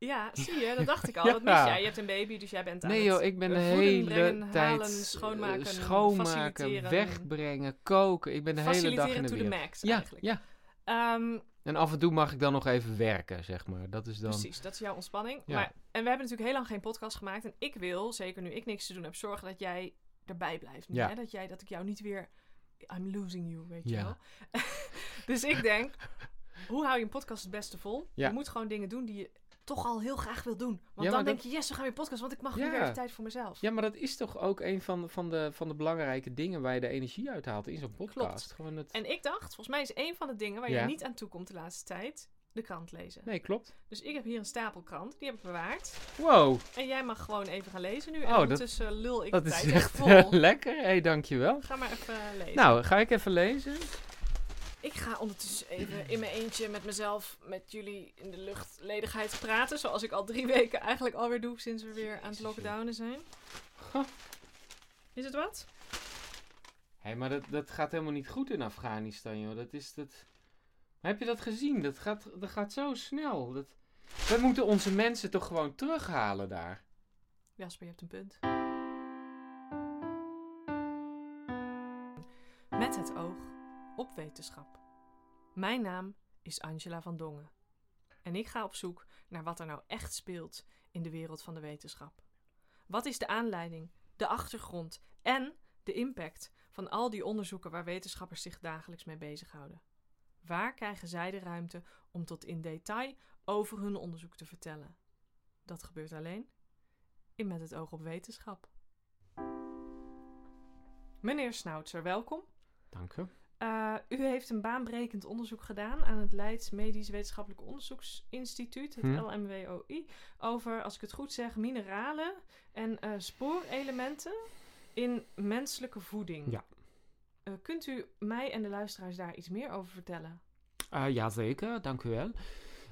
Speaker 2: Ja, zie je, dat dacht ik al.
Speaker 1: Ja.
Speaker 2: Dat mis jij. Je hebt een baby, dus jij bent aan
Speaker 1: Nee
Speaker 2: het
Speaker 1: joh, ik ben de
Speaker 2: eh, voeden,
Speaker 1: hele
Speaker 2: brengen,
Speaker 1: tijd
Speaker 2: halen,
Speaker 1: eh,
Speaker 2: schoonmaken,
Speaker 1: schoonmaken
Speaker 2: faciliteren.
Speaker 1: wegbrengen, koken. Ik ben de hele dag in
Speaker 2: faciliteren
Speaker 1: de
Speaker 2: to the
Speaker 1: weer.
Speaker 2: max
Speaker 1: ja,
Speaker 2: eigenlijk.
Speaker 1: ja.
Speaker 2: Ehm,
Speaker 1: En En af en toe mag ik dan nog even werken, zeg maar. Dat is dan...
Speaker 2: Precies, dat is jouw ontspanning.
Speaker 1: Ja.
Speaker 2: Maar, en we hebben natuurlijk heel lang geen podcast gemaakt. En ik wil, zeker nu ik niks te doen heb, zorgen dat jij erbij blijft. nu,
Speaker 1: Ja.
Speaker 2: hè? Dat, jij, dat ik jou niet weer... I'm losing you, weet
Speaker 1: Ja.
Speaker 2: je wel. dus ik denk, hoe hou je een podcast het beste vol?
Speaker 1: Ja.
Speaker 2: Je moet gewoon dingen doen die je toch al heel graag wil doen. Want
Speaker 1: maar
Speaker 2: dan denk
Speaker 1: dat-
Speaker 2: je, yes, we gaan weer podcast, want ik mag
Speaker 1: Ja.
Speaker 2: nu weer even tijd voor mezelf.
Speaker 1: Ja, maar dat is toch ook een van, van, de, van de belangrijke dingen waar je de energie uit haalt in zo'n podcast.
Speaker 2: Klopt.
Speaker 1: Gewoon het...
Speaker 2: En ik dacht, volgens mij is een van de dingen waar
Speaker 1: Ja.
Speaker 2: je niet aan toe komt de laatste tijd, de krant lezen.
Speaker 1: Nee, klopt.
Speaker 2: Dus ik heb hier een stapel krant, die heb ik bewaard.
Speaker 1: Wow,
Speaker 2: En jij mag gewoon even gaan lezen nu.
Speaker 1: Oh,
Speaker 2: En
Speaker 1: dat-
Speaker 2: ondertussen lul ik
Speaker 1: dat
Speaker 2: de
Speaker 1: is
Speaker 2: tijd
Speaker 1: echt
Speaker 2: vol.
Speaker 1: lekker. Hé, hey, dankjewel.
Speaker 2: Ga maar even eh, lezen.
Speaker 1: Nou, ga ik even lezen.
Speaker 2: Ik ga ondertussen even in mijn eentje met mezelf, met jullie in de luchtledigheid praten. Zoals ik al drie weken eigenlijk alweer doe sinds we weer aan het lockdownen zijn.
Speaker 1: Goh.
Speaker 2: Is het wat?
Speaker 1: Hé, maar dat, dat gaat helemaal niet goed in Afghanistan, joh. Dat is dat... Maar heb je dat gezien? Dat gaat, dat gaat zo snel. Dat... We moeten onze mensen toch gewoon terughalen daar.
Speaker 2: Jasper, je hebt een punt. Met het oog op wetenschap. Mijn naam is Angela van Dongen. En ik ga op zoek naar wat er nou echt speelt in de wereld van de wetenschap. Wat is de aanleiding, de achtergrond en de impact van al die onderzoeken waar wetenschappers zich dagelijks mee bezighouden? Waar krijgen zij de ruimte om tot in detail over hun onderzoek te vertellen? Dat gebeurt alleen in Met het oog op wetenschap. Meneer Snoutser, welkom.
Speaker 1: Dank u.
Speaker 2: Eh, u heeft een baanbrekend onderzoek gedaan aan het Leids Medisch Wetenschappelijk Onderzoeksinstituut, het
Speaker 1: Hm.
Speaker 2: LMWOI, over, als ik het goed zeg, mineralen en eh, spoorelementen in menselijke voeding.
Speaker 1: Ja.
Speaker 2: Eh, kunt u mij en de luisteraars daar iets meer over vertellen?
Speaker 4: Äh, ja jazeker, dank u wel.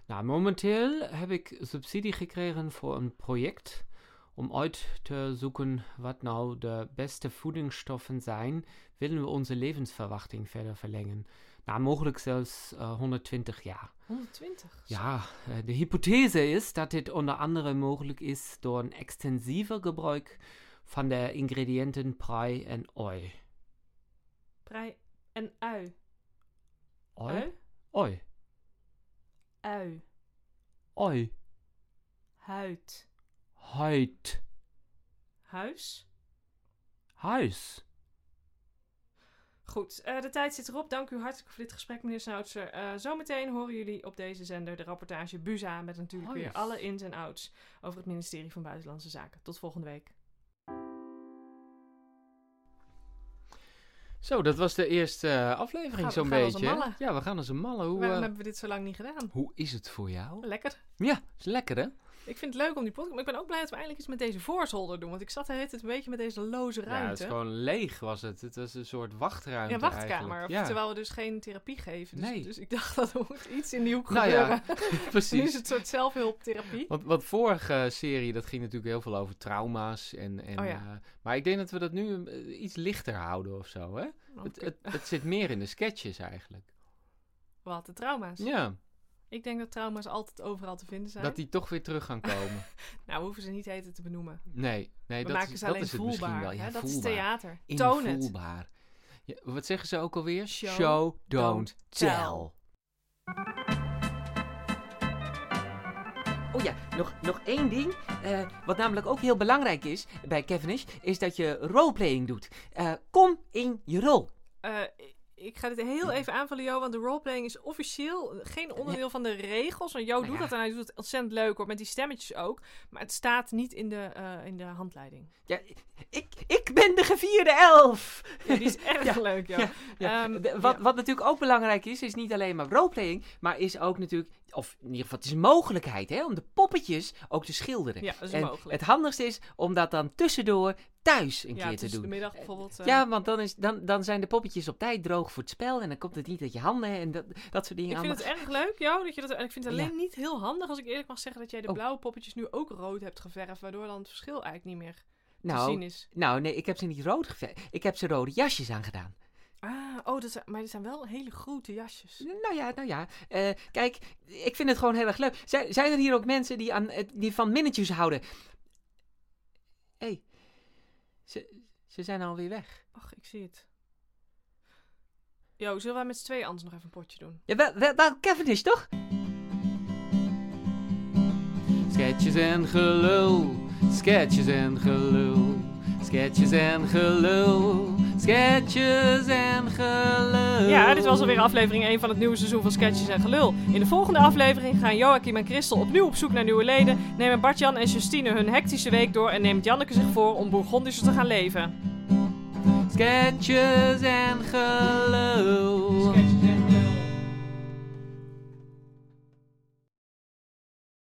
Speaker 4: Nou, momenteel heb ik subsidie gekregen voor een project om uit te zoeken wat nou de beste voedingsstoffen zijn, willen we onze levensverwachting verder verlengen. Nou, mogelijk zelfs eh, 120 jaar.
Speaker 2: 120.
Speaker 4: Ja, eh, de hypothese is dat dit onder andere mogelijk is door een extensiever gebruik van de ingrediënten prei en oi.
Speaker 2: Prei en ui.
Speaker 4: Oi?
Speaker 2: Ui?
Speaker 4: Oi.
Speaker 2: Ui.
Speaker 4: Oi.
Speaker 2: Huid.
Speaker 4: Huid.
Speaker 2: Huis.
Speaker 4: Huis.
Speaker 2: Goed, eh, de tijd zit erop. Dank u hartelijk voor dit gesprek, meneer Snoutser. Eh, zometeen horen jullie op deze zender de rapportage Buza... met natuurlijk
Speaker 4: Oh,
Speaker 2: weer
Speaker 4: yes.
Speaker 2: alle ins en outs over het ministerie van Buitenlandse Zaken. Tot volgende week.
Speaker 1: Zo, dat was de eerste eh, aflevering
Speaker 2: Gaan-
Speaker 1: zo'n
Speaker 2: we gaan als
Speaker 1: beetje.
Speaker 2: een
Speaker 1: hè?
Speaker 2: malle.
Speaker 1: Ja, we gaan als een malle. Hoe,
Speaker 2: Waarom
Speaker 1: eh,
Speaker 2: hebben we dit zo lang niet gedaan?
Speaker 1: hoe is het voor jou?
Speaker 2: Lekker.
Speaker 1: Ja, is lekker hè?
Speaker 2: Ik vind het leuk om die podcast... Maar ik ben ook blij dat we eindelijk iets met deze voorzolder doen. Want ik zat de hele tijd een beetje met deze loze
Speaker 1: Ja, het
Speaker 2: ruimte.
Speaker 1: is gewoon leeg was het. Het was een soort wachtruimte
Speaker 2: Ja, wachtkamer.
Speaker 1: eigenlijk.
Speaker 2: Of- Terwijl we dus geen therapie geven. Dus,
Speaker 1: Nee.
Speaker 2: dus ik dacht, dat er moet iets in die hoek
Speaker 1: Nou ja,
Speaker 2: gebeuren. nu is
Speaker 1: precies.
Speaker 2: het een soort zelfhulptherapie.
Speaker 1: Want, want vorige serie, dat ging natuurlijk heel veel over trauma's. En, en,
Speaker 2: Oh ja.
Speaker 1: eh, maar ik denk dat we dat nu eh, iets lichter houden of zo. Hè? Het, het, het zit meer in de sketches eigenlijk.
Speaker 2: Wat de trauma's.
Speaker 1: Ja,
Speaker 2: Ik denk dat trauma's altijd overal te vinden zijn.
Speaker 1: dat die toch weer terug gaan komen.
Speaker 2: Nou, we hoeven ze niet heten te benoemen.
Speaker 1: Nee, nee
Speaker 2: we
Speaker 1: dat,
Speaker 2: maken
Speaker 1: is,
Speaker 2: ze alleen
Speaker 1: dat is het misschien
Speaker 2: voelbaar.
Speaker 1: wel. Ja,
Speaker 2: hè? Dat is
Speaker 1: voelbaar.
Speaker 2: theater. Toon het.
Speaker 1: Invoelbaar. Ja, wat zeggen ze ook alweer?
Speaker 2: Show,
Speaker 1: don't,
Speaker 2: don't tell.
Speaker 4: Oh ja, nog, nog één ding. eh, wat namelijk ook heel belangrijk is bij Kevinish, is dat je roleplaying doet. Eh, kom in je rol.
Speaker 2: Eh, ik- ik ga dit
Speaker 4: Mm.
Speaker 2: heel even aanvullen, Jo, want de roleplaying is officieel geen onderdeel van de regels. Want Jo
Speaker 4: Nou
Speaker 2: doet
Speaker 4: ja.
Speaker 2: dat en hij doet het ontzettend leuk hoor, met die stemmetjes ook. Maar het staat niet in de, eh, in de handleiding.
Speaker 4: Ja, ik, ik ben de gevierde elf.
Speaker 2: Ja, die is erg leuk, Jo.
Speaker 4: ja, Ja,
Speaker 2: Ehm,
Speaker 4: de- wat,
Speaker 2: ja.
Speaker 4: wat natuurlijk ook belangrijk is, is niet alleen maar roleplaying, maar is ook natuurlijk, of in ieder geval, het is een mogelijkheid hè, om de poppetjes ook te schilderen.
Speaker 2: Ja, dat is
Speaker 4: En
Speaker 2: mogelijk.
Speaker 4: Het handigste is om dat dan tussendoor thuis een
Speaker 2: ja,
Speaker 4: keer te
Speaker 2: tussen de
Speaker 4: doen.
Speaker 2: middag bijvoorbeeld. eh,
Speaker 4: Ja, want dan, is, dan, dan zijn de poppetjes op tijd droog voor het spel. En dan komt het niet uit je handen en dat, dat soort dingen
Speaker 2: Ik vind
Speaker 4: allemaal.
Speaker 2: het erg leuk, Jo, dat je dat... en Ik vind het
Speaker 4: Ja.
Speaker 2: alleen niet heel handig, als ik eerlijk mag zeggen, dat jij de
Speaker 4: Oh.
Speaker 2: blauwe poppetjes nu ook rood hebt geverfd. Waardoor dan het verschil eigenlijk niet meer te zien
Speaker 4: nou,
Speaker 2: is.
Speaker 4: nou, nee, ik heb ze niet rood geverfd. Ik heb ze rode jasjes aangedaan.
Speaker 2: Ah, oh, dat zijn, maar dat zijn wel hele grote jasjes.
Speaker 4: Nou ja, nou ja. Eh, kijk, ik vind het gewoon heel erg leuk. Zijn, zijn er hier ook mensen die, aan, eh, die van minnetjes houden? Hé, hey, ze, ze zijn alweer weg.
Speaker 2: Ach, ik zie het. Jo, zullen wij met z'n tweeën anders nog even een potje doen?
Speaker 5: Ja, wel, wel, wel Cavendish, toch?
Speaker 4: Sketches en gelul, sketches en gelul, sketches en gelul, sketches en gelul.
Speaker 2: Ja, dit was alweer aflevering 1 van het nieuwe seizoen van Sketches en Gelul. In de volgende aflevering gaan Joachim en Christel opnieuw op zoek naar nieuwe leden, nemen Bartjan en Justine hun hectische week door en neemt Janneke zich voor om Bourgondischer te gaan leven.
Speaker 4: Sketches en gelul.